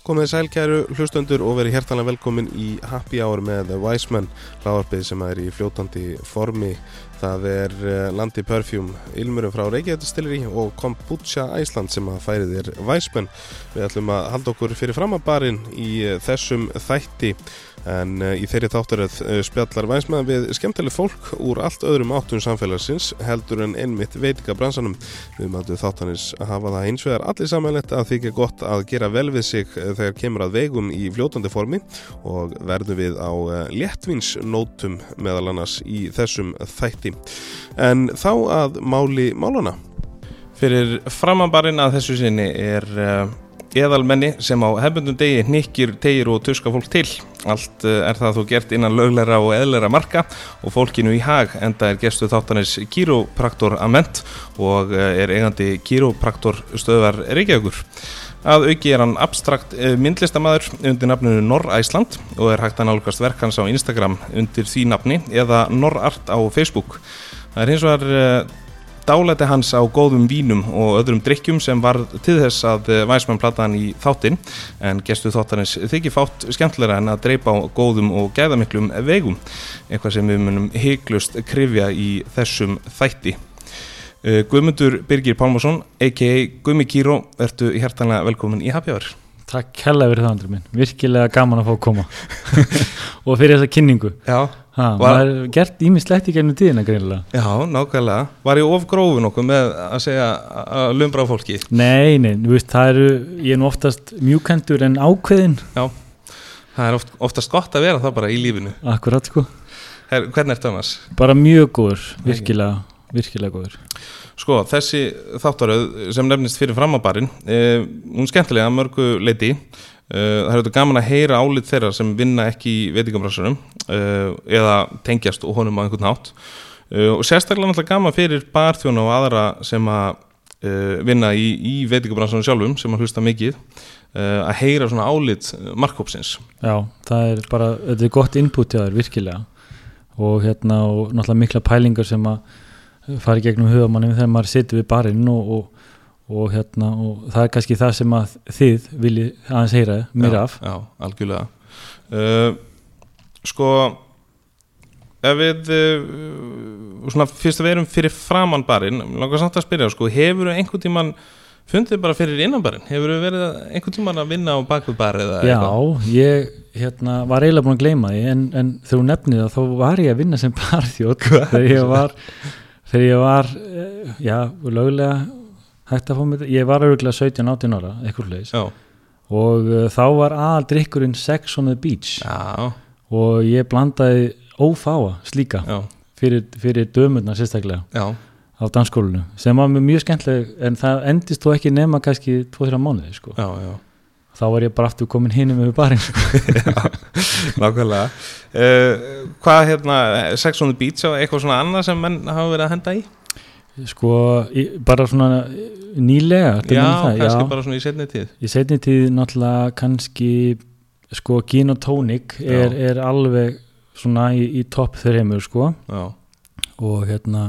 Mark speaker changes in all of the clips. Speaker 1: Komið sæl kæru hlustöndur og verið hjertanlega velkomin í Happy Hour með The Wiseman hláðarpið sem er í fljótandi formi það er eh, Landi Perfume Ilmurum frá Reykjavík Stilleri og Kombucha Æsland sem að færi þér Wiseman Við ætlum að halda okkur fyrir framabarinn í eh, þessum þætti en eh, í þeirri þáttaröð eh, spjallar Wiseman við skemmtileg fólk úr allt öðrum áttum samfélagsins heldur en einmitt veitingabransanum Við matum þáttanis að hafa það hins vegar allir samanlegt að þykja gott að gera vel við sig eh, þegar kemur að vegum í fljótandi formi og verðum við á léttvinsnótum meðal annars í þessum þætti. En þá að máli málana.
Speaker 2: Fyrir framanbarinn að þessu sinni er uh, eðalmenni sem á hefbundum degi hnikkir, tegir og tuska fólk til. Allt uh, er það þú gert innan löglera og eðlera marka og fólkinu í hag enda er gestu þáttanis kýrópraktor Ament og uh, er eigandi kýrópraktor stöðvar Reykjavíkur. Að auki er hann abstrakt eh, myndlistamæður undir nafninu Norr-Æsland og er hægt að nálgast verk hans á Instagram undir því nafni eða Norrart á Facebook. Það er hins vegar eh, dálæti hans á góðum vínum og öðrum drikkjum sem var til þess að Væsmann plataðan í þáttinn en gestu þáttarins þykir fátt skemmtilega en að dreipa á góðum og gæðamiklum vegum, eitthvað sem við munum heiklust krifja í þessum þætti. Eh, Guðmundur Birgir Pálmarsson, a.k.a. Guðmi Kíró, ertu hjertanlega velkomin í Happy Hour.
Speaker 3: Takk hella fyrir það Andri minn, virkilega gaman að fá að koma og fyrir þessa kynningu
Speaker 2: Já,
Speaker 3: ha,
Speaker 2: Var-
Speaker 3: maður er gert ímislegt í gennum tíðina greinilega
Speaker 2: já, nákvæmlega. Var ég of grófin okkur með að segja að lumbra á fólki?
Speaker 3: Nei, nei, þú veist, það eru, ég er nú oftast mjúkendur en ákveðin
Speaker 2: Já, það er oft, oftast gott að vera það bara í lífinu.
Speaker 3: akkurat sko,
Speaker 2: Her, hvernig ertu annars?
Speaker 3: bara mjög góður virkilega, virkilega góður
Speaker 2: Sko, þessi þáttaröð sem nefnist fyrir framabarinn, eh, hún er skemmtilega að mörgu leiti. Eh, það er þetta gaman að heyra álit þeirra sem vinna ekki í veitingabrassunum eh, eða tengjast og honum á einhvern hátt. Eh, og sérstaklega náttúrulega gaman fyrir barþjóna og aðra sem að eh, vinna í, í veitingabransunum sjálfum sem að hlusta mikið eh, að heyra svona álit markkópsins.
Speaker 3: Já, það er bara, þetta er gott input hjá þér virkilega og hérna og náttúrulega mikla pælingar sem að fara í gegnum hugamannum þegar maður situr við barinn og, og, og hérna og það er kannski það sem að þið viljið aðeins heyra mér
Speaker 2: já,
Speaker 3: af
Speaker 2: Já, algjörlega uh, Sko ef við uh, svona fyrst að við erum fyrir framan barinn langar samt að spyrja, sko, hefur einhvern tíman fundið bara fyrir innan barinn hefur við verið að- einhvern tíman að vinna á bakvið bar eða
Speaker 3: Já,
Speaker 2: eitthvað?
Speaker 3: ég hérna, var eiginlega búin að gleyma því en, en þegar hún nefnið það þá var ég að vinna sem barþjótt þegar ég var þegar ég var, eh, já, lögulega hægt að fá mig, ég var auðvitað 17-18 ára, eitthvað leis
Speaker 2: Já,
Speaker 3: og uh, þá var aðaldrykkurinn Sex on the Beach
Speaker 2: já,
Speaker 3: og ég blandaði ófáa slíka
Speaker 2: já,
Speaker 3: fyrir, fyrir dömurna sérstaklega
Speaker 2: já,
Speaker 3: á dansskólinu sem var mér mjög skemmtileg en það endist þó ekki nema kannski 2-3 mánuði sko.
Speaker 2: já, já.
Speaker 3: þá var ég bara aftur komin hinum yfir barinn sko.
Speaker 2: Nákvæmlega uh, Hvað hérna, Sex on the Beach og eitthvað svona annað sem menn hafa verið að henda í?
Speaker 3: sko, í- bara svona eh, nýlega ertu að
Speaker 2: já,
Speaker 3: meina það?
Speaker 2: kannski
Speaker 3: já.
Speaker 2: bara svona í setni tíð
Speaker 3: í setni tíð náttúrulega kannski sko gin og tónik er, er alveg svona í, í topp þreymur sko
Speaker 2: Já,
Speaker 3: og hérna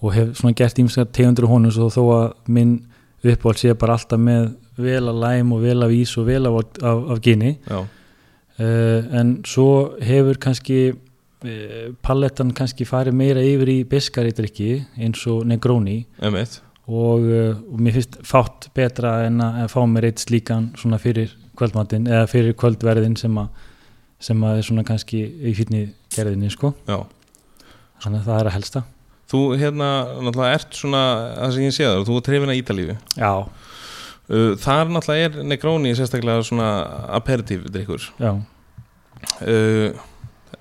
Speaker 3: og hef svona gert ímska tegundur á honum svo þó að minn uppáhald sé bara alltaf með vel af læm og vel af ís og vel af, af, af gini
Speaker 2: já,
Speaker 3: uh, en svo hefur kannski uh, palettan kannski farið meira yfir í beskari drikki eins og negróni
Speaker 2: emmitt
Speaker 3: og, uh, og mér finnst fátt betra en að, að fá mér eitt slíkan svona fyrir kvöldmatinn eða fyrir kvöldverðin sem að sem að er svona kannski í fyrni gerðinni sko,
Speaker 2: Já
Speaker 3: þannig að það er að helsta
Speaker 2: Þú hérna, náttúrulega ert svona, það sem ég sé það, þú er trefin að Ítalíu.
Speaker 3: Já,
Speaker 2: Uh, Þar náttúrulega er Negroni sérstaklega svona aperitív drikkur.
Speaker 3: já
Speaker 2: Uh,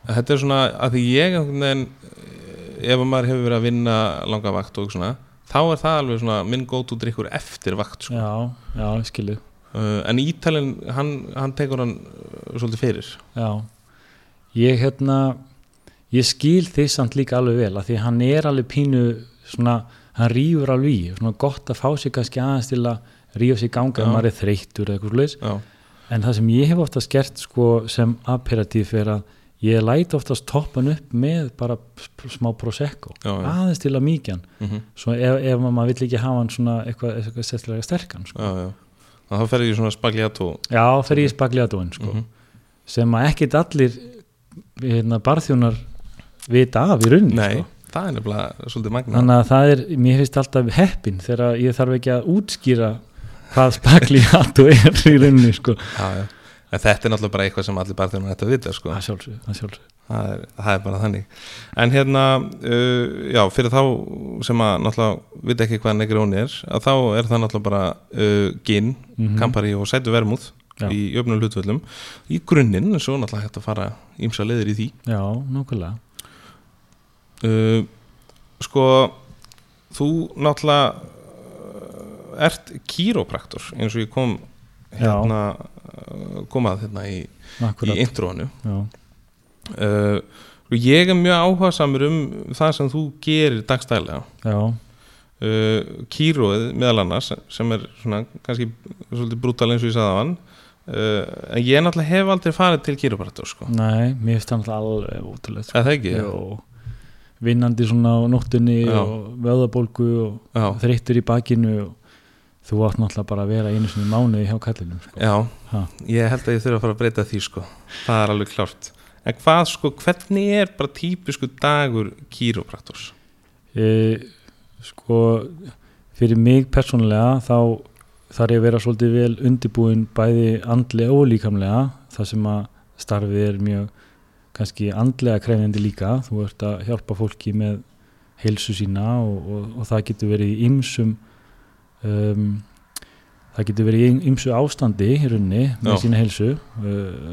Speaker 2: Þetta er svona, að því ég einhvern veginn, eh, ef maður hefur verið að vinna langa vakt og svona, þá er það alveg svona minn gótu drikkur eftir vakt. Sko.
Speaker 3: Já, já, ég skilu
Speaker 2: Uh, en Ítalinn, hann, hann tekur hann uh, svolítið fyrir.
Speaker 3: já. Ég hérna ég skil þið samt líka alveg vel af því hann er alveg pínu svona, hann rýfur alveg í svona gott að fá sig kannski aðeins til að rýfa sig í ganga
Speaker 2: Já.
Speaker 3: ef maður er þreyttur eða eitthvað leis
Speaker 2: Já,
Speaker 3: en það sem ég hef oftast gert sko, sem aperatíf er að ég læti oftast toppan upp með bara p- smá prosecco
Speaker 2: já, já.
Speaker 3: aðeins til að mýkjan
Speaker 2: mhm,
Speaker 3: svo ef, ef maður vill ekki hafa hann svona eitthvað, eitthvað sérstilega sterkan sko.
Speaker 2: já, já. að þá ferði ég svona spagliat og
Speaker 3: já, fer ég í spagliatóin sko,
Speaker 2: Mhm.
Speaker 3: sem að ekkit allir hérna, barþjónar vita af í rauninni
Speaker 2: Nei,
Speaker 3: sko.
Speaker 2: það er nefnilega svolítið magna
Speaker 3: þannig að það er, mér finnst alltaf heppin þegar ég þarf ekki að útskýra hvað spagliató er í rauninni sko.
Speaker 2: já, já. En þetta er náttúrulega bara eitthvað sem allir barþjónar ættu að vita sko.
Speaker 3: að sjálfsög, að sjálfsög
Speaker 2: það, er, það er bara þannig En hérna, uh, já, fyrir þá sem að náttúrulega vita ekki hvað negróni er að þá er það náttúrulega bara uh, ginn,
Speaker 3: Mhm.
Speaker 2: kampari og sætu vermúð
Speaker 3: Já.
Speaker 2: í öfnum hlutvöldum í grunninn, en svo er náttúrulega hægt að fara ímsa leiðir í því
Speaker 3: já, nákvæmlega
Speaker 2: uh, sko þú náttúrulega uh, ert kýrópraktor eins og ég kom hérna, uh, kom að hérna í, í
Speaker 3: akkurat,
Speaker 2: introinu
Speaker 3: já,
Speaker 2: uh, og ég er mjög áhuga samur um það sem þú gerir dagstælega
Speaker 3: já,
Speaker 2: uh, kýróið meðal annars sem er svona kannski svolítið brútal eins og ég sagði á hann uh, en ég náttúrulega hef aldrei farið til kýrópraktor sko,
Speaker 3: nei, mér finnst það náttúrulega alveg ótrúlega sko.
Speaker 2: eða það ekki
Speaker 3: og vinnandi svona á nóttunni
Speaker 2: Já.
Speaker 3: og vöðabólgu og
Speaker 2: já,
Speaker 3: þreyttur í bakinu og þú átt náttúrulega bara að vera einu sinni í mánuði hjá kallinum sko.
Speaker 2: Já,
Speaker 3: Ha.
Speaker 2: ég held að ég þurfa að fara að breyta því sko Það er alveg klárt En hvað sko, hvernig er bara típisku dagur kýrópraktors?
Speaker 3: E, sko fyrir mig persónulega þá þarf ég að vera svolítið vel undirbúin bæði andlega og líkamlega þar sem að starfið er mjög kannski andlega krefjandi líka þú ert að hjálpa fólki með heilsu sína og, og, og það getur verið í ymsum um, það getur verið í ymsu ástandi í runni með
Speaker 2: Já.
Speaker 3: sína heilsu uh,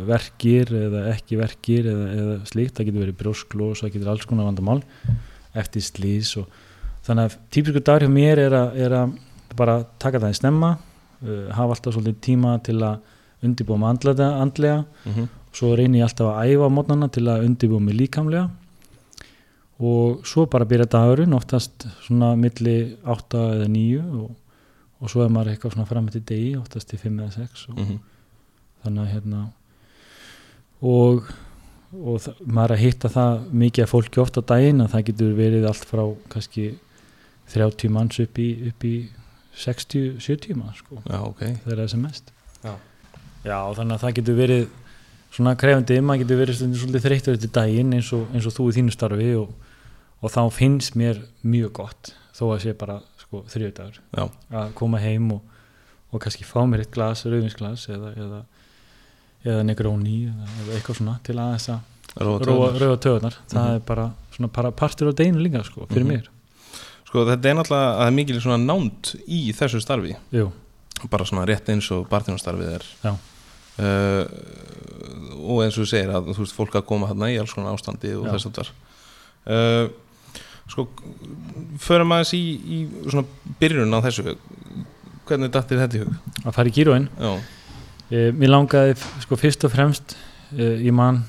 Speaker 3: verkir eða ekki verkir eða, eða slíkt, það getur verið brjósklós það getur alls konar vandamál eftir slís og þannig að típisku dagur hjá mér er að, er að bara taka það í snemma uh, hafa alltaf svolítið tíma til að undirbúa með andlega, andlega
Speaker 2: Mm -hmm.
Speaker 3: svo reyni ég alltaf að æfa á mótnana til að undirbúa mig líkamlega og svo bara byrja dagurinn oftast svona milli 8 eða 9 og, og svo er maður eitthvað svona fram eftir degi oftast til 5 eða 6 og,
Speaker 2: Mhm.
Speaker 3: þannig að hérna og, og þa- maður er að hitta það mikið af fólki oft á daginn að það getur verið allt frá kannski 30 manns upp í, upp í 60-70 manns sko,
Speaker 2: Já, ok
Speaker 3: þegar það er sem mest
Speaker 2: Já.
Speaker 3: Já, þannig að það getur verið svona krefandi, maður getur verið stundum svolítið þreyttur eftir daginn eins og, eins og þú í þínu starfi og, og þá finnst mér mjög gott þó að sé bara sko, þriðdagur
Speaker 2: Já,
Speaker 3: að koma heim og, og kannski fá mér eitt glas, rauðinsglas eða, eða, eða negróni eða, eða eitthvað svona til aðeins að
Speaker 2: róa
Speaker 3: róa-
Speaker 2: tölur.
Speaker 3: rauða töðunar það
Speaker 2: Mhm.
Speaker 3: er bara svona bara partur á deginu líka sko, fyrir
Speaker 2: Mhm.
Speaker 3: mér
Speaker 2: Sko, þetta er náttúrulega að það er mikil svona nánd í þessu starfi
Speaker 3: Jú,
Speaker 2: bara svona rétt eins og barþjónastarfið er
Speaker 3: Já.
Speaker 2: Uh, og eins og þú segir að þú veist fólk að koma þarna í alls konar ástandi og
Speaker 3: Já.
Speaker 2: þess að það uh, sko förum aðeins í, í svona byrjun á þessu hvernig dattir þetta í hug?
Speaker 3: að fara í kýróin
Speaker 2: Já,
Speaker 3: e, mér langaði f- sko fyrst og fremst e, ég man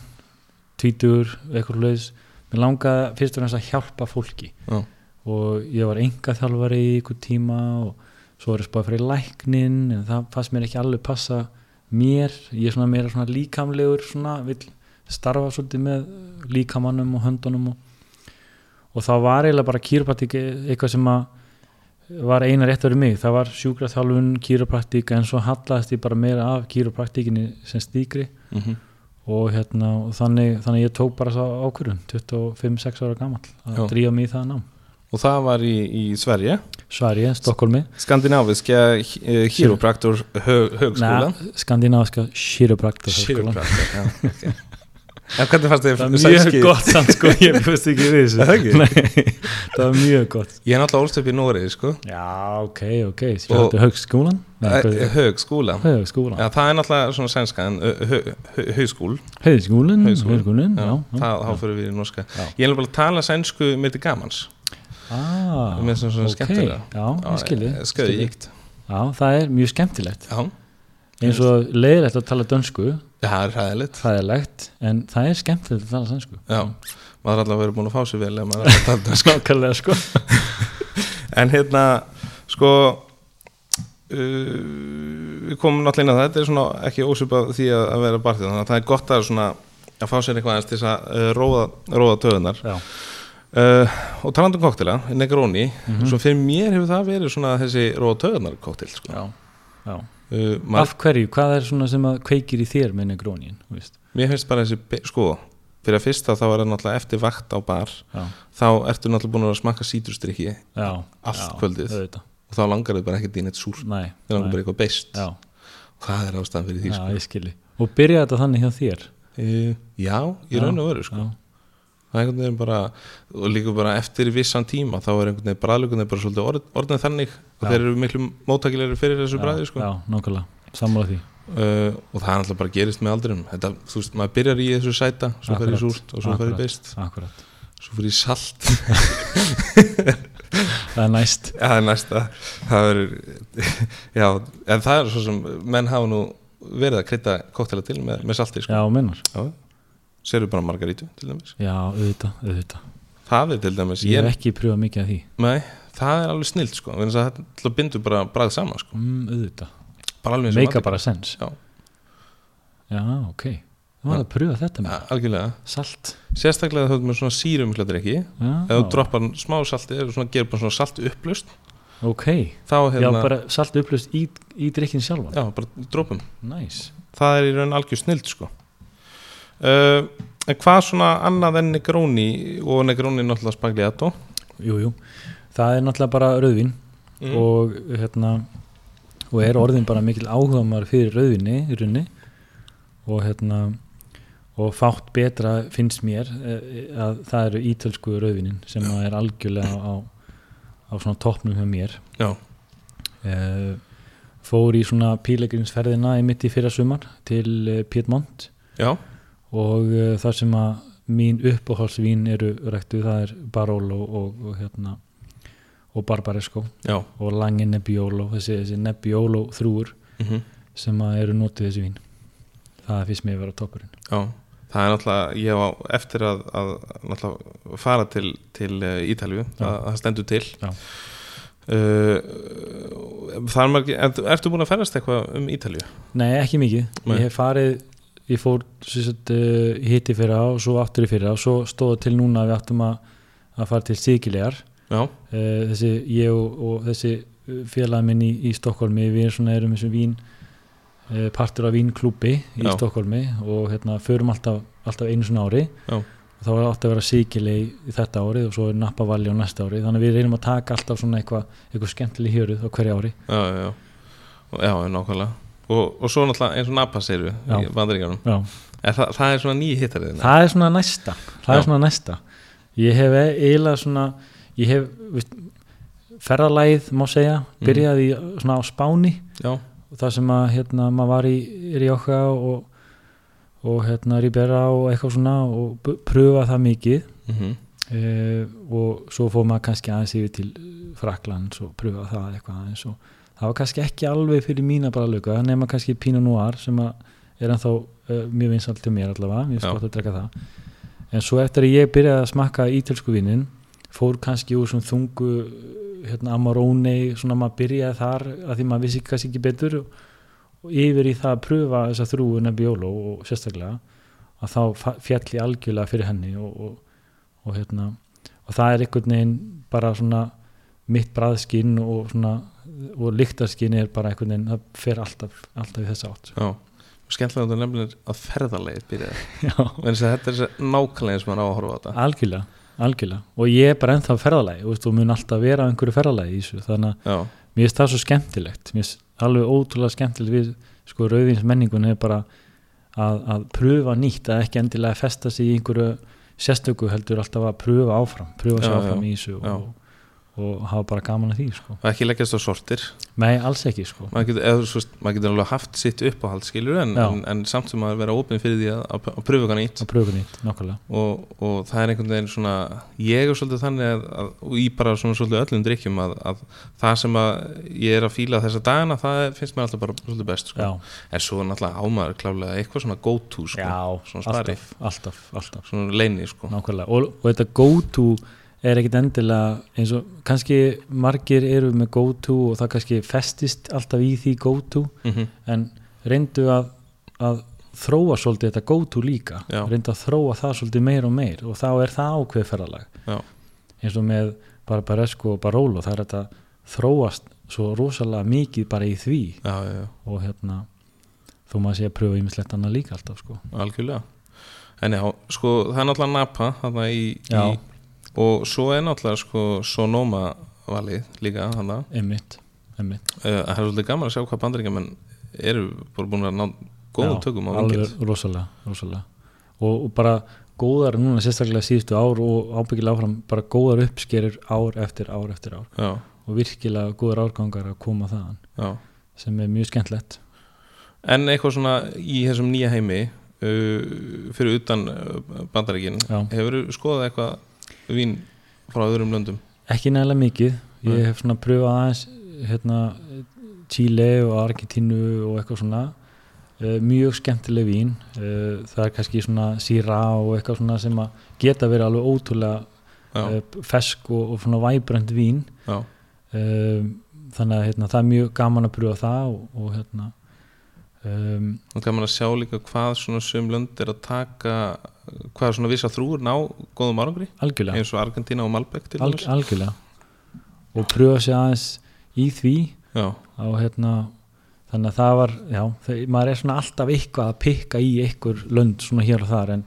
Speaker 3: tvítur, eitthvað leis mér langaði fyrst og fremst að hjálpa fólki
Speaker 2: Já.
Speaker 3: og ég var enga þjálfari í ykkur tíma og svo var ég spáð fyrir læknin en það fannst mér ekki alveg passa mér, ég er svona meira svona líkamlegur svona, vill starfa svolítið með líkamannum og höndunum og, og þá var eiginlega bara kýrpatík e-, eitthvað sem að var eina rétt verið mig, það var sjúkraþjálfun kýropraktík en svo hallaðist ég bara meira af kýropraktíkinni sem stíkri
Speaker 2: mm
Speaker 3: og hérna og þannig, þannig ég tók bara svo ákvörðun 25-6 ára gamall að
Speaker 2: Já.
Speaker 3: drífa mig í það nám
Speaker 2: og það var í, í Sverige
Speaker 3: Sverige, Stokkólmi,
Speaker 2: Skandinaviska hýrópraktor högskólan
Speaker 3: Skandinaviska Kýropraktík
Speaker 2: Hýrópraktor, já ok. En hvernig fannst þið
Speaker 3: Það er mjög gott samt sko, ég fyrst ekki við þessu
Speaker 2: Er það ekki?
Speaker 3: Nei, það er mjög gott
Speaker 2: Ég er náttúrulega ólst upp í Nóri sko.
Speaker 3: Já, ok, ok,
Speaker 2: Og-
Speaker 3: þetta er högskólan
Speaker 2: Eh, högskólan
Speaker 3: Högskólan,
Speaker 2: Já, það er náttúrulega svona sænska en högskúl,
Speaker 3: högskólan,
Speaker 2: Högskólinn,
Speaker 3: högskólan,
Speaker 2: já,
Speaker 3: Mm, já, já.
Speaker 2: það þá fyrir við í norska
Speaker 3: Já.
Speaker 2: Ég er bara að tala sænsku mér til gamans
Speaker 3: Ah,
Speaker 2: Mér finnst það svona
Speaker 3: ok.
Speaker 2: skemmtilega.
Speaker 3: Já, ég skilji
Speaker 2: Skauðíkt
Speaker 3: Já, það er mjög skemmtilegt
Speaker 2: Já,
Speaker 3: eins og leiðilegt að tala dönsku
Speaker 2: það er hæðilegt
Speaker 3: það er legt, en það er skemmtilegt að tala sænsku
Speaker 2: Já, maður er allavega verið búin að fá sér vel ef maður er að tala um dönsku.
Speaker 3: Nákvæmlega sko
Speaker 2: En hérna, sko uh, Við komum náttúrulega inn að þetta er svona ekki ósvipað því að, að vera barþjóð þannig að það er gott að svona að fá sér eitthvað aðeins til þess að uh, róða, róða töðunar
Speaker 3: Já,
Speaker 2: Uh, og talandi um koktela,
Speaker 3: Mhm.
Speaker 2: Negroni svo fyrir mér hefur það verið svona þessi rótöðunar koktel sko.
Speaker 3: já, já,
Speaker 2: uh, maður,
Speaker 3: af hverju, hvað er svona sem að kveikir í þér með negrónin, þú veist
Speaker 2: mér finnst bara þessi, be- sko fyrir að fyrsta þá er það náttúrulega eftir vakt á bar
Speaker 3: já,
Speaker 2: þá ertu náttúrulega búin að vera að smakka síturstrykki
Speaker 3: já,
Speaker 2: Allt
Speaker 3: já,
Speaker 2: kvöldið.
Speaker 3: auðvitað.
Speaker 2: og þá langar þau bara ekkert í neitt súrt
Speaker 3: nei,
Speaker 2: þau langar
Speaker 3: nei,
Speaker 2: bara eitthvað beist
Speaker 3: já,
Speaker 2: það er ástæðan fyrir því
Speaker 3: já,
Speaker 2: sko.
Speaker 3: ég skilji og byrja þetta þannig hjá þér
Speaker 2: Uh, já, í
Speaker 3: Já,
Speaker 2: raun og veru sko.
Speaker 3: já,
Speaker 2: það er einhvern veginn bara og líka bara eftir vissan tíma þá er einhvern veginn bræðlugunni bara svolítið orð, orðnað þannig og
Speaker 3: Já.
Speaker 2: þeir eru miklu móttakilegri fyrir þessu bræði sko.
Speaker 3: já, nákvæmlega, sammála því
Speaker 2: uh, og það er alltaf bara gerist með aldrinum þetta, þú veist, maður byrjar í þessu sæta svo fer í
Speaker 3: Akkurat,
Speaker 2: súrt og svo fer í
Speaker 3: akkurat.
Speaker 2: beist
Speaker 3: akkurat,
Speaker 2: svo fer í salt
Speaker 3: það er næst
Speaker 2: Já, það er næsta það er, já, en það er svo sem menn hafa nú verið að krytta koktela til með, með salti sko.
Speaker 3: já, minnar,
Speaker 2: sérðu bara margarítu til dæmis
Speaker 3: já, auðvitað, auðvitað
Speaker 2: það er til dæmis,
Speaker 3: ég
Speaker 2: ég,
Speaker 3: hef ekki pröfað mikið af því
Speaker 2: nei, það er alveg snilt sko, vegna þess að þetta til að bindu bara bragð saman sko,
Speaker 3: mm, auðvitað,
Speaker 2: bara alveg eins og
Speaker 3: meika
Speaker 2: matur.
Speaker 3: bara sens
Speaker 2: Já.
Speaker 3: já, ok það var
Speaker 2: Já.
Speaker 3: að pröfa þetta með
Speaker 2: Ja, algjörlega,
Speaker 3: salt
Speaker 2: sérstaklega þú ert með svona sírum mikla drikki,
Speaker 3: já,
Speaker 2: ef þú droppar smá salti eða svona, gerir bara svona salt upplust
Speaker 3: ok,
Speaker 2: þá
Speaker 3: já,
Speaker 2: hérna, já, bara,
Speaker 3: bara salt upplust í, í drikkin sjálfan
Speaker 2: droppum
Speaker 3: Nice.
Speaker 2: það er í raun algjör snild sko. uh, en hvað svona annað en negróni og negróni náttúrulega spagliato
Speaker 3: Jú, jú. Það er náttúrulega bara rauðvin
Speaker 2: Mm.
Speaker 3: og hérna og er orðin bara mikil áhugamar fyrir rauðvinni í runni og hérna og fátt betra finnst mér eh, að það eru ítölsku rauðvinin sem að er algjörlega á, á svona toppnum hjá mér
Speaker 2: Já.
Speaker 3: Eh, fór í svona pílegrinsferðina í mitt í fyrra sumar til eh, Piedmont
Speaker 2: já,
Speaker 3: og uh, það sem að mín uppáhalsvín eru ræktuð það er Barolo og, og hérna og Barbaresco
Speaker 2: já
Speaker 3: og Lange Nebbiolo þessi, þessi Nebbiolo þrúur
Speaker 2: mm
Speaker 3: sem að eru notið í þessi vín það finnst mér að vera toppurinn
Speaker 2: já Það er náttúrulega, ég á eftir að, að náttúrulega fara til, til eh, Ítalíu,
Speaker 3: Já.
Speaker 2: það, það stendur til.
Speaker 3: Já.
Speaker 2: Uh, það er margir, er, ertu búin að ferast eitthvað um Ítalíu?
Speaker 3: nei ekki mikið,
Speaker 2: Nei.
Speaker 3: ég hef farið ég fór sérst, uh, hitti fyrra og svo aftur í fyrra og svo stóða til núna að við áttum að, að fara til Sigilegar
Speaker 2: Já,
Speaker 3: Eh, þessi ég og, og þessi eh, félag minn í, í Stokkólmi við erum svona erum þessu vín eh, partur af vínklúbi í
Speaker 2: Já.
Speaker 3: Stokkólmi og hérna förum alltaf, alltaf einu svona ári
Speaker 2: Já.
Speaker 3: og þá er alltaf að vera síkileg í þetta árið og svo er nappavalli á næsta ári þannig að við reynum að taka alltaf svona eitthvað eitthvað skemmtileg hjöruð á hverju ári
Speaker 2: já, já, já, Og- já, nákvæmlega. Og, og svo náttúrulega eins og Napa segir
Speaker 3: Já.
Speaker 2: við í bandaríkjanum.
Speaker 3: Já.
Speaker 2: Er, það, það er svona nýi hittariðina?
Speaker 3: það er svona næsta það
Speaker 2: Já.
Speaker 3: er svona næsta ég hef e- eiginlega svona ég hef veist, ferðalæð má segja
Speaker 2: Mhm.
Speaker 3: byrjaði í- svona á Spáni
Speaker 2: Já,
Speaker 3: og það sem að hérna maður var í Rjóka og, og hérna Ribera og eitthvað svona og b- prufa það mikið
Speaker 2: mm
Speaker 3: eh, og svo fór maður kannski aðeins yfir til Fraklands og prufa það eitthvað aðeins og það var kannski ekki alveg fyrir mína bara lögga nema kannski Pinot Noir sem að er ennþá eh, mjög vinsalt til mér allavega, mjög
Speaker 2: Já.
Speaker 3: skott að drekka það en svo eftir að ég byrjaði að smakka ítölsku vinin fór kannski úr svona þungu hérna Amarone, svona maður byrjaði þar að því maður vissi kannski ekki betur og, og yfir í það að pröfa þessa þrúu Nebbiolo og sérstaklega að þá fa- féll ég algjörlega fyrir henni og, og, og hérna og það er einhvern veginn bara svona mitt bræðskinn og svona og lyktarskinn er bara einhvern veginn það fer alltaf, alltaf í þessa átt sko.
Speaker 2: já. Skemmtilega að þú nefnir að ferðarlegið byrjaði.
Speaker 3: Já,
Speaker 2: Þannig að þetta er þessi nákvæmlega eins og maður á að horfa á þetta.
Speaker 3: algjörlega, algjörlega og ég er bara ennþá ferðalagi veist, og mun alltaf vera á einhverju ferðalagi í þessu þannig að
Speaker 2: Já,
Speaker 3: mér finnst það svo skemmtilegt mér finnst alveg ótrúlega skemmtilegt við sko rauðins menningun er bara að, að pröfa nýtt að ekki endilega festa sig í einhverju sérstöku heldur alltaf að pröfa áfram pröfa sig
Speaker 2: Já,
Speaker 3: áfram
Speaker 2: já,
Speaker 3: í þessu
Speaker 2: já.
Speaker 3: og, og hafa bara gaman að því sko.
Speaker 2: og ekki leggjast á sortir.
Speaker 3: nei, alls ekki sko.
Speaker 2: Maður getur, eða, svo, veist, maður getur alveg haft sitt uppáhald, skilur, en,
Speaker 3: Já.
Speaker 2: en, en samt sem maður vera opinn fyrir því að, að að pröfa eitthvað nýtt.
Speaker 3: að pröfa nýtt, nákvæmlega
Speaker 2: Og, og það er einhvern veginn svona, ég er svolítið þannig að, að og í bara svona svolítið öllum drikkjum að, að það sem að ég er að fíla þessa dagana, það finnst mér alltaf bara svolítið best, sko.
Speaker 3: já,
Speaker 2: En svo náttúrulega ámaður klálega eitthvað svona go-to, sko. Svona spari.
Speaker 3: alltaf, alltaf, alltaf
Speaker 2: Svona leini, sko.
Speaker 3: nákvæmlega og, og þetta go-to er ekkit endilega eins og kannski margir eru með go-to og það kannski festist alltaf í því go-to
Speaker 2: Mm -hmm.
Speaker 3: en reyndu að, að þróa svolítið þetta go-to líka
Speaker 2: Já.
Speaker 3: reyndu að þróa það svolítið meir og meir og þá er það ákveð ferðalag
Speaker 2: Já.
Speaker 3: eins og með Barbaresco og Barolo það er þetta þróast svo rosalega mikið bara í því
Speaker 2: já, já, já,
Speaker 3: og hérna þó maður sé að pröfa ímislegt annað líka alltaf sko.
Speaker 2: algjörlega en já, sko, það er náttúrulega Napa þarna í, í
Speaker 3: Já.
Speaker 2: og svo er náttúrulega sko Sonoma valið líka þarna
Speaker 3: einmitt, einmitt
Speaker 2: Eh, það er svolítið gaman að sjá hvað bandaríkjamenn eru bara búin að ná góðum
Speaker 3: Já,
Speaker 2: tökum á vingil
Speaker 3: alveg rosalega, rosalega. Og, og bara góðar núna sérstaklega síðustu ár og ábyggilega áfram bara góðar uppskerir ár eftir ár eftir ár
Speaker 2: já,
Speaker 3: og virkilega góðar árgangar að koma þaðan
Speaker 2: já.
Speaker 3: sem er mjög skemmtlegt
Speaker 2: en eitthvað svona í þessum nýja heimi uh, fyrir utan uh, bandaríkin
Speaker 3: Já.
Speaker 2: hefur þú skoðað eitthvað vín frá öðrum löndum
Speaker 3: ekki nægilega mikið ég
Speaker 2: Nei.
Speaker 3: hef svona pröfað aðeins hérna, Chile og Argentínu og eitthvað svona Eh, mjög skemmtileg vín Eh, það er kannski svona síra og eitthvað svona sem að geta verið alveg ótrúlega
Speaker 2: já,
Speaker 3: eh, fersk og, og svona væbrönd vín
Speaker 2: já,
Speaker 3: um, þannig að hérna, það er mjög gaman að pröfa það og, og hérna um,
Speaker 2: og kannan að sjá líka hvað svona sum lönd er að taka hvað svona vissa þrúur ná góðum árangri
Speaker 3: algjörlega,
Speaker 2: eins og Argentina og Malbec til
Speaker 3: alg,
Speaker 2: dæmis
Speaker 3: algjörlega og pröfa sig aðeins í því
Speaker 2: já,
Speaker 3: og hérna þannig að það var, já, það, maður er svona alltaf eitthvað að pikka í einhver lönd svona hér og þar en,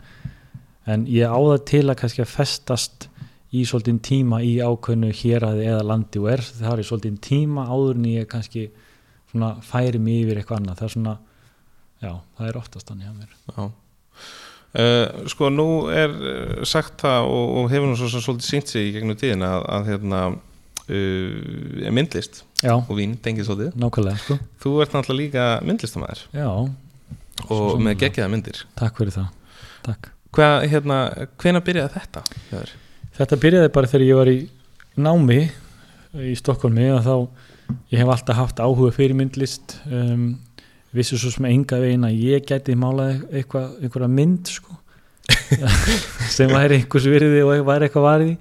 Speaker 3: en ég á það til að kannski að festast í svolítinn tíma í ákveðnu héraði eða landi og er það er svolítinn tíma áður en ég kannski svona færi mig yfir eitthvað annað það er svona, já, það er oftast þannig að mér
Speaker 2: já Uh, sko nú er eh, sagt það og, og hefur nú svo sem svolítið sínt sig í gegnum tíðina að, að hérna uh, myndlist
Speaker 3: Já,
Speaker 2: og vín tengið svolítið
Speaker 3: nákvæmlega sko.
Speaker 2: þú ert náttúrulega líka myndlistamæður
Speaker 3: Já,
Speaker 2: og
Speaker 3: Svo
Speaker 2: með
Speaker 3: sannarlega.
Speaker 2: geggjaða myndir
Speaker 3: takk fyrir það takk.
Speaker 2: Hvað, hérna, hvena byrjaði þetta? hjá þér?
Speaker 3: Þetta byrjaði bara þegar ég var í námi í Stokkólmi og þá ég hef alltaf haft áhuga fyrir myndlist um, vissi svo sem enga vegin að ég gæti málað eitthvað, einhverja mynd sko sem væri einhvers virði og væri eitthvað varði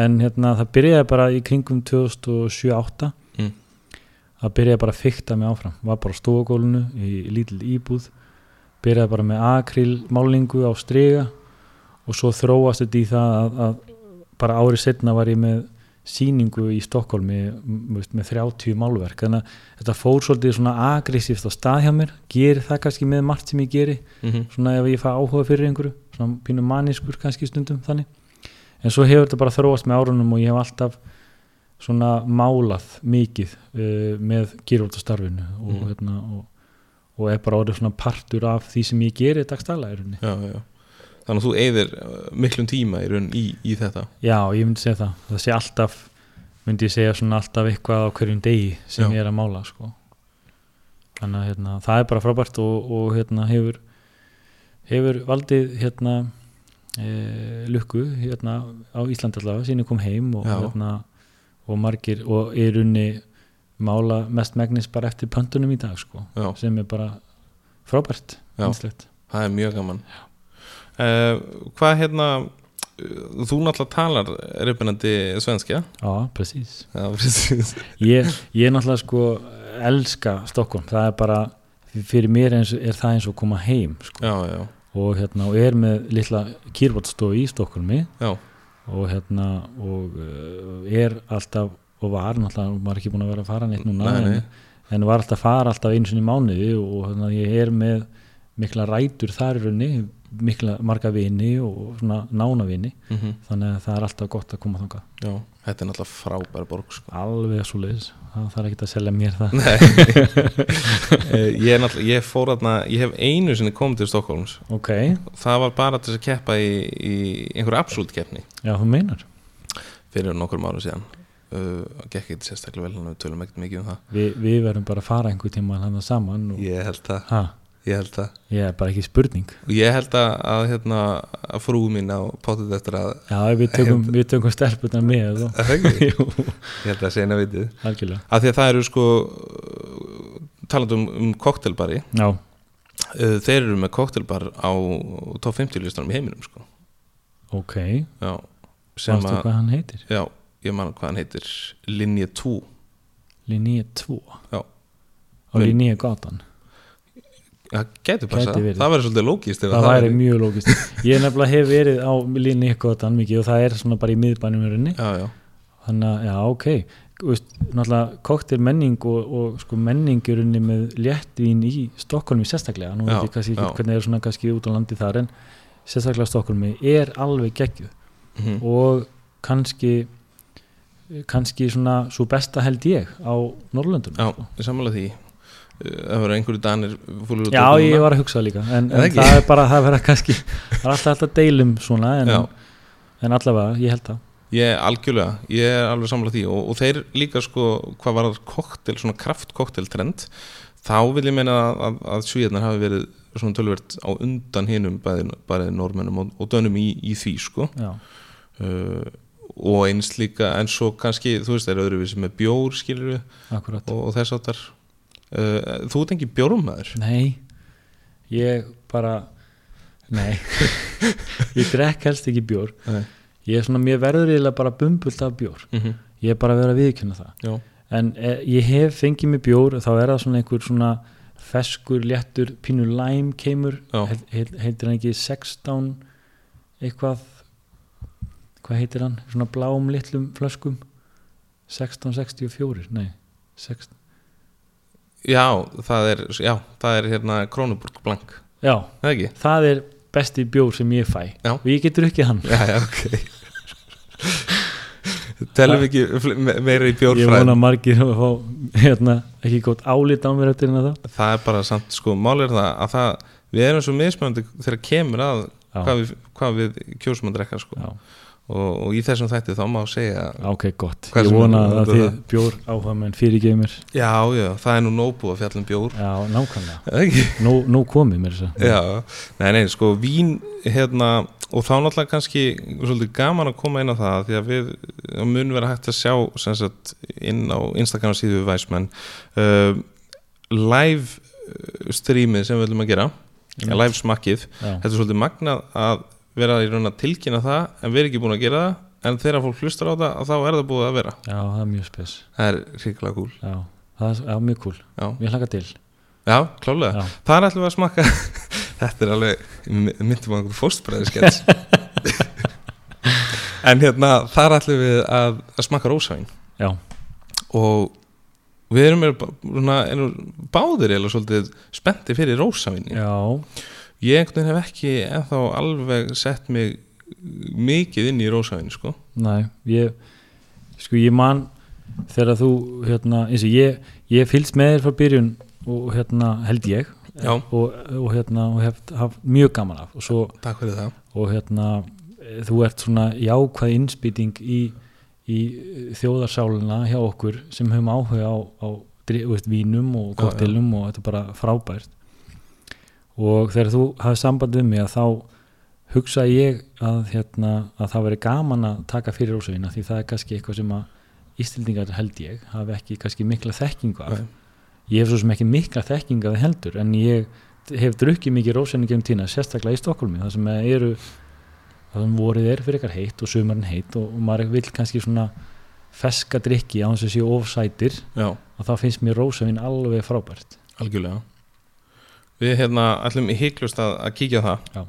Speaker 3: en hérna það byrjaði bara í kringum 2007-2008
Speaker 2: Mm.
Speaker 3: það byrjaði bara að fykta mig áfram var bara á stofagólinu í lítil íbúð byrjaði bara með akrilmálingu á striga og svo þróast þetta í það að, að bara árið setna var ég með síningu í Stokkólmi m- veist, með 30 málverk þannig að þetta fór svolítið svona agressíft á stað hjá mér gerir það kannski með margt sem ég geri
Speaker 2: Mhm.
Speaker 3: svona ef ég fæ áhuga fyrir einhverju svona pínu maniskur kannski stundum þannig en svo hefur þetta bara þróast með árunum og ég hef alltaf svona málað mikið uh, með gyrjóttastarfinu og,
Speaker 2: Mhm.
Speaker 3: hérna, og, og er bara orðið svona partur af því sem ég geri dagstæla er henni
Speaker 2: Já, já. Þannig að þú eyðir eh, miklum tíma í raun í, í þetta
Speaker 3: Já, ég myndi segja það. Það sé alltaf, myndi ég segja svona alltaf eitthvað á hverjum degi sem
Speaker 2: Já.
Speaker 3: ég er að mála, sko. Þannig að hérna, það er bara frábært og, og hérna hefur, hefur valdið hérna e, lukku hérna á Íslandi allavega, síðan ég kom heim og
Speaker 2: Já.
Speaker 3: hérna og margir og er unni mála mest megnis bara eftir pöntunum í dag, sko.
Speaker 2: Já.
Speaker 3: Sem er bara frábært,
Speaker 2: Já.
Speaker 3: einslegt.
Speaker 2: Það er mjög gaman uh, Hvað, hérna eh, þú náttúrulega talar reyfinandi svenskja
Speaker 3: Já, precis.
Speaker 2: Já, precis
Speaker 3: ég, ég náttúrulega sko elska Stockholm, það er bara fyrir mér eins, er það eins og að koma heim sko.
Speaker 2: Já, já,
Speaker 3: og hérna og er með litla kýrvotstofu í Stockholmi
Speaker 2: já,
Speaker 3: og hérna og uh, er alltaf og var náttúrulega, maður er ekki búin að vera að fara neitt núna
Speaker 2: Nei, nei.
Speaker 3: En, en var alltaf að fara alltaf einu sinni í mánuði og hérna ég er með mikla rætur þar í raunni mikla marga vini og svona nána vini
Speaker 2: mm
Speaker 3: þannig að það er alltaf gott að koma þangað
Speaker 2: já Þetta er náttúrulega frábær borg sko.
Speaker 3: alveg svo leiðis, það þarf ekki að selja mér það
Speaker 2: Nei Eh, Ég, er náttúrulega- ég fór þarna Ég hef einu sinni komið til Stokkólms
Speaker 3: ok,
Speaker 2: Það var bara til þess að keppa í, í einhverju absolutt keppni
Speaker 3: já þú meinar
Speaker 2: fyrir nokkrum árum síðan uh, gekk eitthvað sérstaklega vel en við tölum ekkert mikið um það
Speaker 3: Vi, við verðum bara að fara einhver tíma hann saman og
Speaker 2: ég held það,
Speaker 3: ha,
Speaker 2: ég held það
Speaker 3: ég er bara ekki spurning
Speaker 2: og ég held að, að, hérna, að frú mín á potið eftir að
Speaker 3: já, við tökum, við tökum stelpurnar með og,
Speaker 2: að það ekki?
Speaker 3: jú,
Speaker 2: ég held að segna vitið
Speaker 3: algjörlega
Speaker 2: af því að það eru sko talandum um koktelbari
Speaker 3: já,
Speaker 2: uh, þeir eru með koktelbar á top 50 listanum í heiminum sko
Speaker 3: ok,
Speaker 2: já, sem
Speaker 3: sástu
Speaker 2: að
Speaker 3: hvað hann heitir
Speaker 2: já, ég man hvað hann heitir Linje 2
Speaker 3: Linnea 2
Speaker 2: Já.
Speaker 3: og Linnea Gatan
Speaker 2: það getur
Speaker 3: Gæti
Speaker 2: passað,
Speaker 3: verið.
Speaker 2: það væri svolítið lókist ef
Speaker 3: það væri
Speaker 2: væri-
Speaker 3: mjög lókist ég nefnilega hef verið á Linnea Gatan mikið og það er svona bara í miðbænum í rauninni
Speaker 2: já, já,
Speaker 3: þannig að, já, ok þú veist, náttúrulega koktir menning og, og sko menning er unni með léttvín í Stokkólmi sérstaklega, nú
Speaker 2: Já,
Speaker 3: veit ég kannski
Speaker 2: já.
Speaker 3: ekki hvernig er svona kannski út á landi þar en sérstaklega Stokkólmi er alveg geggju
Speaker 2: Mhm.
Speaker 3: og kannski kannski svona svo besta held ég á Norrlöndunum
Speaker 2: Já,
Speaker 3: sko.
Speaker 2: ég sammála því Uh, Það voru einhverju danir fúlir út
Speaker 3: já
Speaker 2: á
Speaker 3: ég
Speaker 2: núna.
Speaker 3: var að hugsa líka en,
Speaker 2: Er það
Speaker 3: en
Speaker 2: ekki?
Speaker 3: það er bara, það verða kannski það er alltaf alltaf deilum svona en,
Speaker 2: Já.
Speaker 3: en allavega, ég held það
Speaker 2: Ég algjörlega, ég er alveg sammála því og, og þeir líka sko, hvað var það koktel, svona kraftkokteltrend þá vil ég meina að, að, að svíðarnar hafi verið svona tölvert á undan hinum bæði, bæði normennum og, og dönum í, í því sko
Speaker 3: já,
Speaker 2: uh, og eins líka en svo kannski, þú veist, þeir eru öðruvísi með bjór skilur við
Speaker 3: akkurat
Speaker 2: og, og þess áttar uh, Þú ert engin bjórumæður
Speaker 3: nei, ég bara nei ég drekk helst ekki bjór
Speaker 2: Nei.
Speaker 3: ég er svona, mér verður eiginlega bara bumbult af bjór
Speaker 2: mm -hmm.
Speaker 3: ég er bara að vera að viðkynna það
Speaker 2: Já,
Speaker 3: en e, ég hef fengið mér bjór þá er það svona einhver svona feskur, léttur, pínu læm kemur,
Speaker 2: Já.
Speaker 3: Hel- hel- heitir hann ekki 16 eitthvað hvað heitir hann, svona bláum litlum flöskum 1664, nei 16,
Speaker 2: já, það er, já, það er hérna Krónuburg blank,
Speaker 3: já,
Speaker 2: er það ekki?
Speaker 3: það er besti bjór sem ég fæ
Speaker 2: Já.
Speaker 3: og ég getur ekki hann
Speaker 2: Já, já, ok Telum ekki fl- me- meira í
Speaker 3: ég vona
Speaker 2: bjórfræðin
Speaker 3: margir að fá hérna, ekki gótt álit á mér eftir hérna það
Speaker 2: Það er bara samt, sko, mál er það að það, við erum svo mismöndi þegar kemur að
Speaker 3: Já.
Speaker 2: hvað við, hvað við kjósum að drekka, sko
Speaker 3: já,
Speaker 2: og, og í þessum þætti þá má segja
Speaker 3: ok, gott,
Speaker 2: Hvað
Speaker 3: ég
Speaker 2: sem er
Speaker 3: vona
Speaker 2: þetta-
Speaker 3: að þið bjór áhuga menn fyrirgeið mér
Speaker 2: Já, já, það er nú nóbú að fjallum bjór
Speaker 3: já, nákvæmlega
Speaker 2: Er það ekki?
Speaker 3: Nú, nú komið mér þess að
Speaker 2: Já, nei, nei, sko, vín hérna, og þá náttúrulega kannski svolítið gaman að koma inn á það því að við það mun vera hægt að sjá sem sagt, inn á Instagram síðu við Væsmenn uh, live uh, streamið sem við ætlum að gera
Speaker 3: Einmitt.
Speaker 2: live smakkið,
Speaker 3: Já,
Speaker 2: þetta er svolítið magnað að vera í raun að tilkynna það en við erum ekki búin að gera það en þegar fólk hlustar á það að þá er það búið að vera
Speaker 3: já, það er mjög spes
Speaker 2: það er hrikalega gúl
Speaker 3: Já, það er já, mjög cool,
Speaker 2: já,
Speaker 3: ég hlaka til
Speaker 2: já klálega
Speaker 3: Já,
Speaker 2: Þar ætlum við að smakka Þetta er alveg, myndum að einhver fóstbræðiskets En hérna, þar ætlum við að, að smakka rósavín
Speaker 3: já,
Speaker 2: Og við erum, er, svona, erum báðir eða svolítið spennti fyrir rósavín
Speaker 3: já,
Speaker 2: Ég einhvern veginn hef ekki ennþá alveg sett mig mikið inn í rósavín sko.
Speaker 3: næ, ég Sko, ég man þegar þú, hérna, eins og ég Ég fylgst með þér frá byrjun og hérna, held ég
Speaker 2: Já.
Speaker 3: og, og hérna, og hef haft mjög gaman af og svo,
Speaker 2: Takk fyrir það
Speaker 3: og hérna eh, þú ert svona jákvæð innspýting í, í eh, þjóðarsálina hjá okkur sem höfum áhuga á, á dri- þú veist, vínum
Speaker 2: Já,
Speaker 3: og
Speaker 2: já.
Speaker 3: koktelum og þetta er bara frábært og þegar þú hafði samband við mig að þá hugsa ég að, hérna, að það veri gaman að taka fyrir ósveina því það er kannski eitthvað sem að Íslendingar held ég hafi ekki kannski mikla þekkingu af
Speaker 2: Nei.
Speaker 3: ég hef svo sem ekki mikla þekkinga við heldur en ég hef drukkið mikið rósenni gefum tína, sérstaklega í Stokkólmi það sem eru það sem vorið er fyrir ykkar heitt og sumarinn heitt og, og maður vil kannski svona feska drikki á þess að séu ofsætir
Speaker 2: Já,
Speaker 3: og þá finnst mér rósavinn alveg frábært
Speaker 2: algjörlega Við hérna ætlum í hygglust að, að kíkja á það
Speaker 3: Já.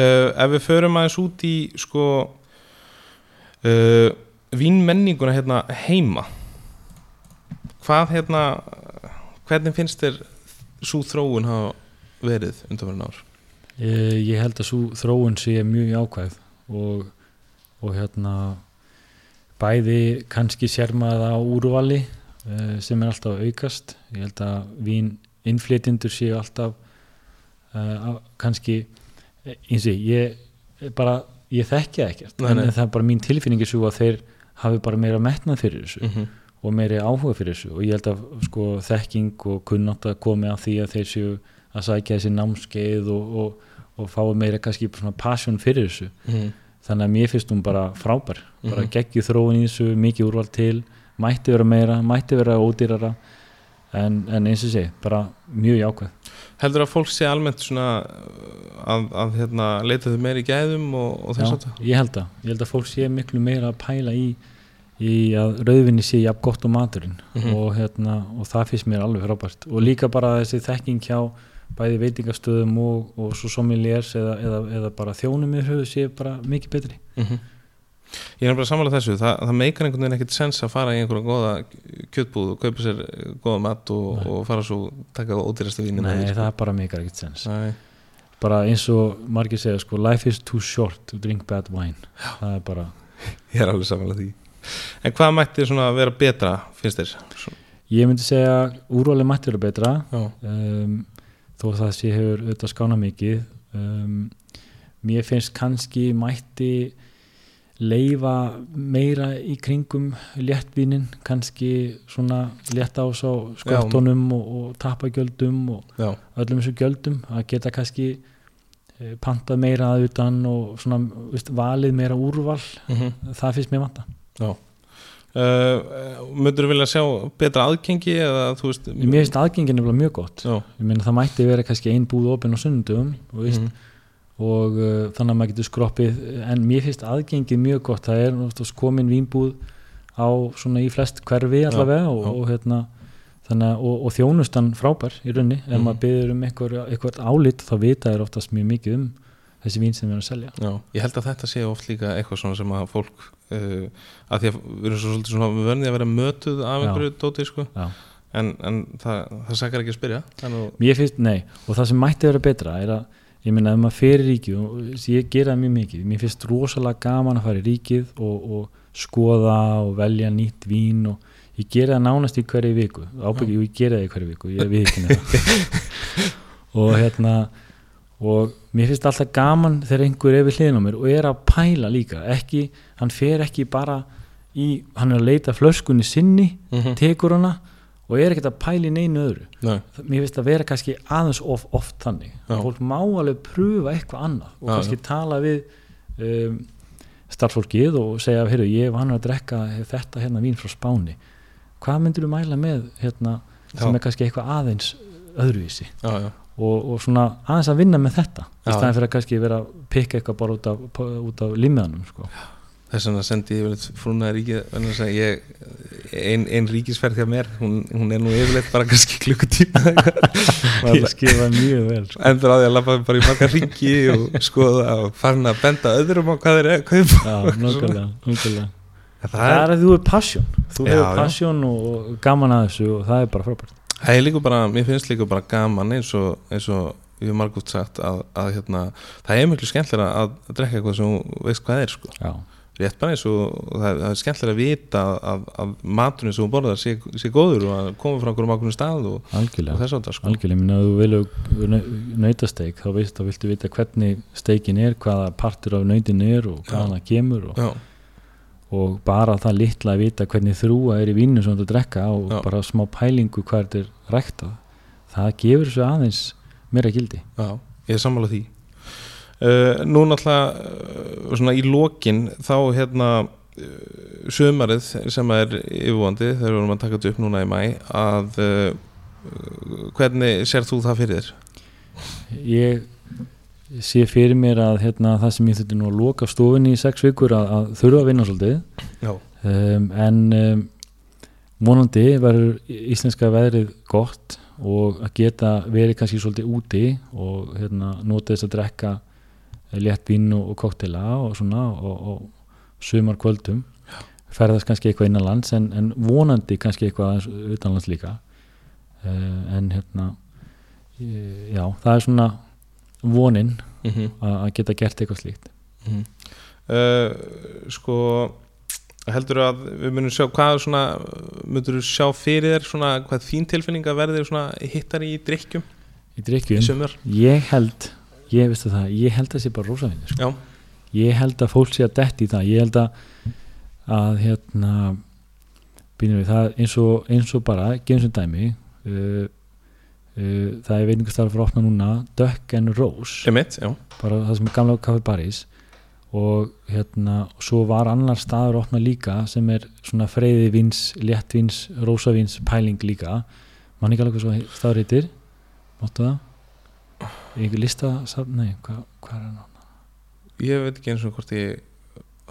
Speaker 2: uh, ef við förum aðeins út í sko uh, vínmenninguna hérna heima hvað hérna hvernig finnst þér svo þróun hafa verið undanverðin ár
Speaker 3: ég, Eh, ég held að svo þróun sé mjög jákvæð og, og hérna bæði kannski sér maður það á úrvali eh, sem er alltaf að aukast ég held að vín innflytindur séu alltaf uh, kannski eh, eins og ég ég bara ég þekki það ekkert
Speaker 2: Nei,
Speaker 3: en,
Speaker 2: nei.
Speaker 3: en það er bara mín tilfinningi svo að þeir hafi bara meira metnað fyrir þessu
Speaker 2: mm -hmm.
Speaker 3: og meiri áhuga fyrir þessu og ég held að sko, þekking og kunnátt að komi að því að þeir séu að sækja þessi námskeið og, og, og fái meira kannski svona passion fyrir þessu þannig að mér finnst hún bara frábær bara
Speaker 2: Mhm.
Speaker 3: geggju þróun í þessu, mikið úrval til mætti vera meira, mætti vera ódýrara en, en eins og sé bara mjög jákvæð
Speaker 2: heldur að fólk sé almennt svona uh, að, að hérna, leita þau meira í gæðum og, og þess að
Speaker 3: Já, ég held að, ég held að fólk sé miklu meira að pæla í, í að rauðvinni sé jafn gott og maturinn
Speaker 2: Mhm.
Speaker 3: og, hérna, og það finnst mér alveg frábært og líka bara þessi þekking hjá bæði veitingastöðum og, og svo sommeliers eða, eða, eða bara þjónum í höfu sé bara mikið betri
Speaker 2: mm -hmm. Ég er bara samanlega þessu, það, það meikar einhvern veginn ekkert sens að fara í einhverja góða kjötbúð og kaupa sér eh, góða mat og,
Speaker 3: Nei.
Speaker 2: og fara svo taka ódýrasta vínin með
Speaker 3: Nei,
Speaker 2: þér, sko.
Speaker 3: það er bara mikið ekkert sens
Speaker 2: Nei.
Speaker 3: bara eins og margir segja sko, life is too short to drink bad wine það er bara,
Speaker 2: Ég er alveg samanlega því En hvað mætti svona vera betra, finnst þér? Svona-
Speaker 3: ég myndi segja úrvalið mætti eru betra
Speaker 2: Já,
Speaker 3: um, þó það sé hefur auðvitað skána mikið um, mér finnst kannski mætti leifa meira í kringum léttvinin, kannski svona létta á svo sköttunum og, og tappagjöldum og
Speaker 2: já,
Speaker 3: öllum þessu gjöldum að geta kannski eh, pantað meira að utan og svona veist, valið meira úrval
Speaker 2: mhm
Speaker 3: það finnst mér vanta
Speaker 2: uh, Möndur vilja sjá betra aðgengi eða þú veist
Speaker 3: mér finnst aðgengin er mjög gott
Speaker 2: Já,
Speaker 3: ég meina það mætti vera kannski ein búð opinn á sunnundum og, veist,
Speaker 2: mhm.
Speaker 3: og uh, þannig að maður getur skroppið uh, en mér finnst aðgengið mjög gott það er náttúrulega komin vínbúð á svona í flest hverfi allavega og,
Speaker 2: já.
Speaker 3: og hérna þannig að og, og þjónustan frábær í raunni ef
Speaker 2: Mhm.
Speaker 3: maður byrður um einhver, einhvert álit þá vita þér oftast mjög mikið um þessi vín sem við erum að selja
Speaker 2: Já, ég held að þetta sé oft líka eitthvað svona sem að fólk uh, að því að við erum svo svolítið svona vörnið að vera mötuð af
Speaker 3: Já.
Speaker 2: einhverju dóti sko.
Speaker 3: Já.
Speaker 2: en, en það, það sakar ekki að spyrja en, og,
Speaker 3: Mér finnst, nei, og það sem mætti vera betra er að, ég meina, ef maður fer í ríkið og þessi ég gera það mjög mikið, mér finnst rosalega gaman að fara í ríkið og, og skoða og velja nýtt vín og ég gera það nánast í hverju viku ábyggjum, ég gera það í hverju viku, ég við ekki nefna og hérna og mér finnst alltaf gaman þegar einhver er við hliðin á mér og er að pæla líka ekki, hann fer ekki bara í, hann er að leita að flöskunni sinni,
Speaker 2: Mhm.
Speaker 3: tekur hana og er ekkert að pæla í neinu öðru
Speaker 2: Nei,
Speaker 3: mér finnst að vera kannski aðeins of oft þannig
Speaker 2: Já.
Speaker 3: fólk má alveg pröfa eitthvað annað og
Speaker 2: Já,
Speaker 3: kannski tala við um, starffólkið og segja heyrðu, ég var hann að drekka þetta hérna vín frá Spáni hvað myndir þú mæla með hérna, sem
Speaker 2: Já.
Speaker 3: er kannski eitthvað aðeins öðruvísi
Speaker 2: já, já,
Speaker 3: og, og svona aðeins að vinna með þetta
Speaker 2: Já.
Speaker 3: í staðin fyrir að kannski vera að pikka eitthvað bara út af, út af limmiðanum sko.
Speaker 2: þess vegna sendi ég yfirleitt frúna ríkið vegna þess að ég, ein, ein ríkisferð hjá mér hún, hún er nú yfirleitt bara kannski klukkutíma eða eitthvað.
Speaker 3: ég skifa mjög vel sko.
Speaker 2: endur á því að lappa bara í marga ríki og skoða og farin að benda öðrum á hvað þeir eru að kaupa
Speaker 3: sko. Já, nokkulega, nokkulega.
Speaker 2: það,
Speaker 3: það
Speaker 2: er,
Speaker 3: er að þú er passion þú
Speaker 2: Já,
Speaker 3: hefur
Speaker 2: já.
Speaker 3: passion og og gaman að þessu og það er bara frábært
Speaker 2: það er líka bara, mér finnst líka bara gaman eins og, eins og ég hef margútt sagt að, að hérna, það er miklu skemmtilega að drekka eitthvað sem þú veist hvað er sko.
Speaker 3: Já,
Speaker 2: rétt bara eins og það er, það er skemmtilega að vita að, að maturinn sem þú borðar sé, sé góður og að koma frá einhverjum ákveðnum stað og, og
Speaker 3: algjörlega,
Speaker 2: þess að það sko.
Speaker 3: algjörlega, minna að þú vilja nautasteik, þá veist, þá viltu vita hvernig steikin er, hvaða partur af nautin er og
Speaker 2: Já.
Speaker 3: hvaðan það kemur og,
Speaker 2: Já,
Speaker 3: og bara það litla að vita hvernig þrúa er í vínu sem þú ert að drekka og
Speaker 2: Já.
Speaker 3: bara smá pælingu hvað þetta er ræktað, það gefur svo aðeins meira gildi.
Speaker 2: já, ég er sammála því uh, Nú náttúrulega uh, svona í lokin þá hérna sömarið sem er yfirvandi þegar við vorum að taka þetta upp núna í mæ að uh, hvernig sér þú það fyrir þér?
Speaker 3: Ég sé fyrir mér að hérna, það sem ég þurfti nú að loka stofunni í sex vikur að, að þurfa að vinna svolítið,
Speaker 2: Já,
Speaker 3: um, en um, vonandi verður íslenska veðrið gott og að geta verið kannski svolítið úti og hérna, nota þess að drekka létt vín og, og koktela og svona og, og sumar kvöldum ferðast kannski eitthvað innanlands en, en vonandi kannski eitthvað aðeins utanlands líka uh, en hérna eh, já, það er svona vonin
Speaker 2: mm -hmm.
Speaker 3: að að geta gert eitthvað slíkt
Speaker 2: uh, mhm. sko heldur að við munum sjá hvað svona, mundur þú sjá fyrir þér svona hvað þín tilfinninga verðir svona hittar í drikkjum
Speaker 3: í
Speaker 2: í
Speaker 3: drikkjum,
Speaker 2: sömur?
Speaker 3: ég held ég veistu það, ég held að það sé bara rosa vinur
Speaker 2: Já,
Speaker 3: ég held að fólk sé að detti í það ég held að, að hérna býnum við það eins og, eins og bara, gefum sem dæmi uh, uh, það er veiningastarf frá opna núna, Duck and Rose
Speaker 2: emitt, já
Speaker 3: bara það sem er gamla Café Paris og hérna, svo var annar staður opna líka sem er svona freyði vins, léttvins, rósavins pæling líka, mann ekki alveg hvað svo he- staður heitir, máttu það einhver lista nei, hvað hva er hann á?
Speaker 2: Ég veit ekki eins og hvort ég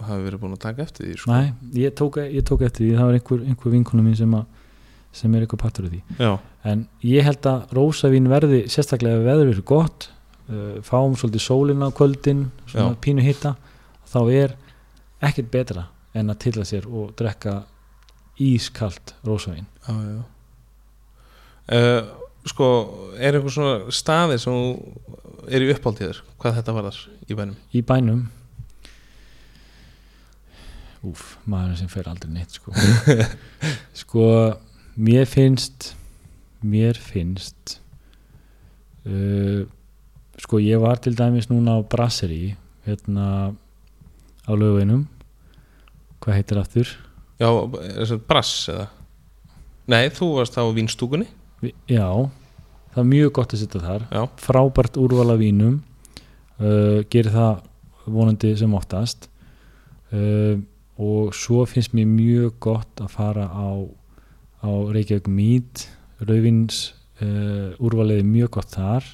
Speaker 2: hafi verið búin að taka eftir því sko.
Speaker 3: Nei, ég tók, ég tók eftir því, það var einhver, einhver vinkonu mín sem, að, sem er eitthvað partur af því.
Speaker 2: Já,
Speaker 3: En ég held að rósavín verði sérstaklega ef veður eru gott, uh, fáum svolítið sólina á kvöldin, svona
Speaker 2: Já.
Speaker 3: pínu hitta, þá er ekkert betra en að tilla sér og drekka ískalt rósavín
Speaker 2: Já, já. Uh, sko, er einhver svona staði sem þú er í uppáltíður hvað þetta varðar í bænum?
Speaker 3: í bænum Úf, maðurinn sem fer aldrei neitt sko sko, mér finnst mér finnst uh, sko, ég var til dæmis núna á Brasserí hérna á lögveinum hvað heitir aftur?
Speaker 2: Já, er þetta brass eða? Nei, þú varst á vinstúkunni
Speaker 3: Vi- Já, það er mjög gott að sitta þar
Speaker 2: Já.
Speaker 3: frábært úrval af vínum uh, gerir það vonandi sem oftast uh, og svo finnst mér mjög gott að fara á, á Reykjavík Mead Rauðvins uh, úrvalið er mjög gott þar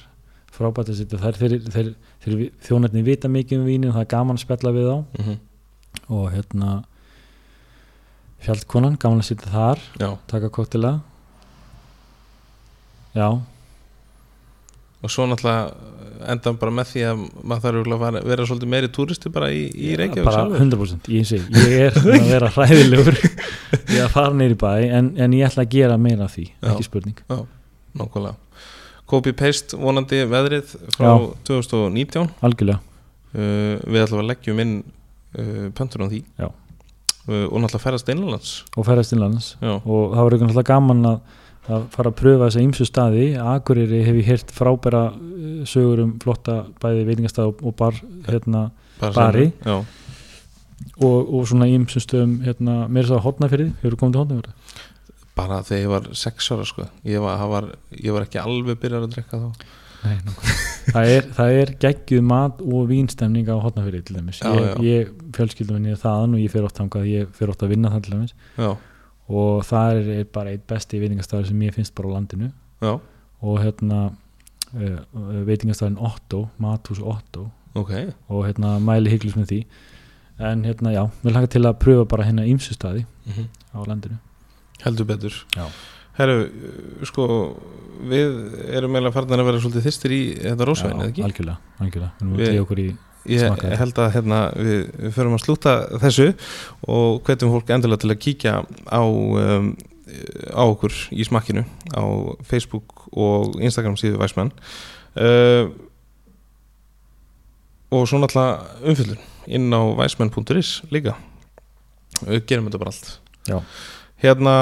Speaker 3: frábært að sitta þar þeir, þeir, þeir, þjónarnir vita mikið um vínin og það er gaman að spjalla við þá
Speaker 2: mm -hmm.
Speaker 3: og hérna fjaldkonan, gaman að sitta þar
Speaker 2: Já,
Speaker 3: taka koktila já,
Speaker 2: og svo náttúrulega enda bara með því að maður þarf örugglega að fara- vera svolítið meiri túristi bara í, í Reykjavík
Speaker 3: bara
Speaker 2: sjálfur.
Speaker 3: 100% ég, segi, ég er búinn að vera hræðilegur ég er að fara neyri bæ en, en ég ætla að gera meira af því, ekki spurning
Speaker 2: Nákvæmlega Copy-paste vonandi veðrið frá
Speaker 3: Já.
Speaker 2: 2019
Speaker 3: algjörlega,
Speaker 2: uh, Við ætlum að leggjum inn uh, pöntur á því
Speaker 3: Já.
Speaker 2: uh, Og náttúrulega ferðast einlands
Speaker 3: og ferast innlands
Speaker 2: Já,
Speaker 3: og það var eitthvað náttúrulega gaman að, að fara að pröfa þessa ymsu staði Akureyri hef ég heyrt frábæra eh, sögur um flotta bæði veitingastað og, og bar hérna,
Speaker 2: bara
Speaker 3: Bari.
Speaker 2: saman. Já,
Speaker 3: og, og svona ymsu stöðum hérna, mér er það hotnafyrði, hefur komið til hotnafyrði
Speaker 2: bara þegar ég var sex ára sko. ég, var, það var, ég var ekki alveg byrjar að drekka þá
Speaker 3: Nei, nákvæmlega. það er, það er geggjuð mat og vínstemning á hotnafyrir til dæmis
Speaker 2: Já,
Speaker 3: ég,
Speaker 2: já.
Speaker 3: ég fjölskyldum minni er þaðan og ég fer oft þangað, ég fer oft að vinna það til dæmis
Speaker 2: Já,
Speaker 3: og það er, er bara eitt besti veitingastafur sem ég finnst bara á landinu
Speaker 2: já,
Speaker 3: og hérna uh, veitingastafurinn Otto, Mathús Otto
Speaker 2: ok
Speaker 3: og hérna mæli hygglust með því en hérna já, við langar til að pröfa bara hérna ímsu staði á landinu
Speaker 2: Mhm. heldur betur
Speaker 3: Já.
Speaker 2: Herru, uh, sko við erum eiginlega farnar að vera svolítið þyrstir í þetta rósvein, eða ekki?
Speaker 3: algjörlega, algjörlega, við erum
Speaker 2: Við-
Speaker 3: að tegja okkur í
Speaker 2: Ég
Speaker 3: Smakka þetta.
Speaker 2: held að hérna, við, við förum að slúta þessu og hvetjum fólk endilega til að kíkja á, um, á okkur í smakkinu á Facebook og Instagram síðu Væsmann uh, og svo náttúrulega umfyllun inn á væsmann.is líka við gerum þetta bara allt
Speaker 3: Já.
Speaker 2: Hérna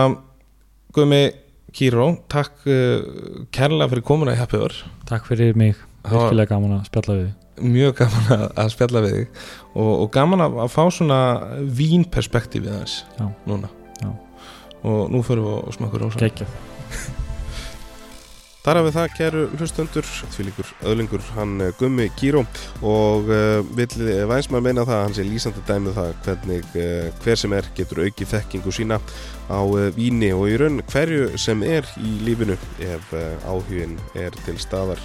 Speaker 2: Guðmi Kíró, takk uh, kærlega fyrir komuna í Happy Hour
Speaker 3: takk fyrir mig,
Speaker 2: Það var-
Speaker 3: virkilega gaman að spjalla við þig.
Speaker 2: mjög gaman að, að spjalla við þig og, og gaman að, að fá svona vínperspektífið aðeins
Speaker 3: Já.
Speaker 2: núna
Speaker 3: Já.
Speaker 2: og nú förum við og smakkur rosa
Speaker 3: geggjað
Speaker 1: Þar hafið það, kæru hlustendur, tvílingur öðlingur, hann eh, Gummi Kíró og uh, vill eh, Vænsmann meina það, að hann sé lýsandi dæmið það hvernig uh, hver sem er getur aukið þekkingu sína á uh, víni og í raun hverju sem er í lífinu ef uh, áhugin er til staðar.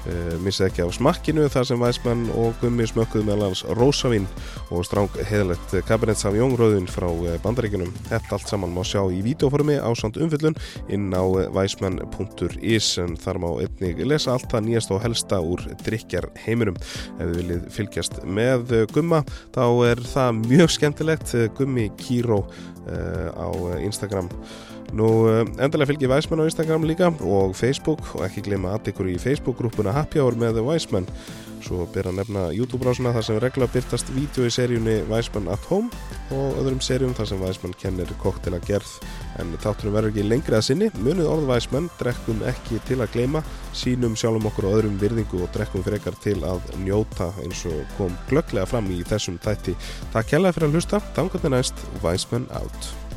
Speaker 1: Uh, missa ekki á smakkinu þar sem Væsmann og Gummi smökkuðu meðal hans Rósavín og stráng heðalegt Cabernet Sauvignon rauðin frá eh, Bandaríkjunum. Þetta allt saman má sjá í vídeoformi á samt umfyllun inn á væsmenn.is en þar má einnig lesa allt það nýjast og helsta úr drikjar heimurum ef þið viljið fylgjast með eh, Gumma þá er það mjög skemmtilegt eh, Gummi Kíró eh, á eh, Instagram Nú, eh, endilega fylgjið Væsmenn á Instagram líka og Facebook og ekki gleyma að ykkur í Facebook-grúpuna Happy Hour með Væsmenn svo byrja að nefna YouTube-rásuna þar sem regla byrtast vídeo í seríunni Væsmenn at Home og öðrum seríum þar sem Væsmenn kennir koktela gerð en þátturum verður ekki lengri að sinni munið orðvæsmenn, drekkum ekki til að gleyma sínum sjálfum okkur og öðrum virðingu og drekkum frekar til að njóta eins og kom glögglega fram í þessum þætti Takk kærlega fyrir að hlusta, þangatni næst, Væsmenn out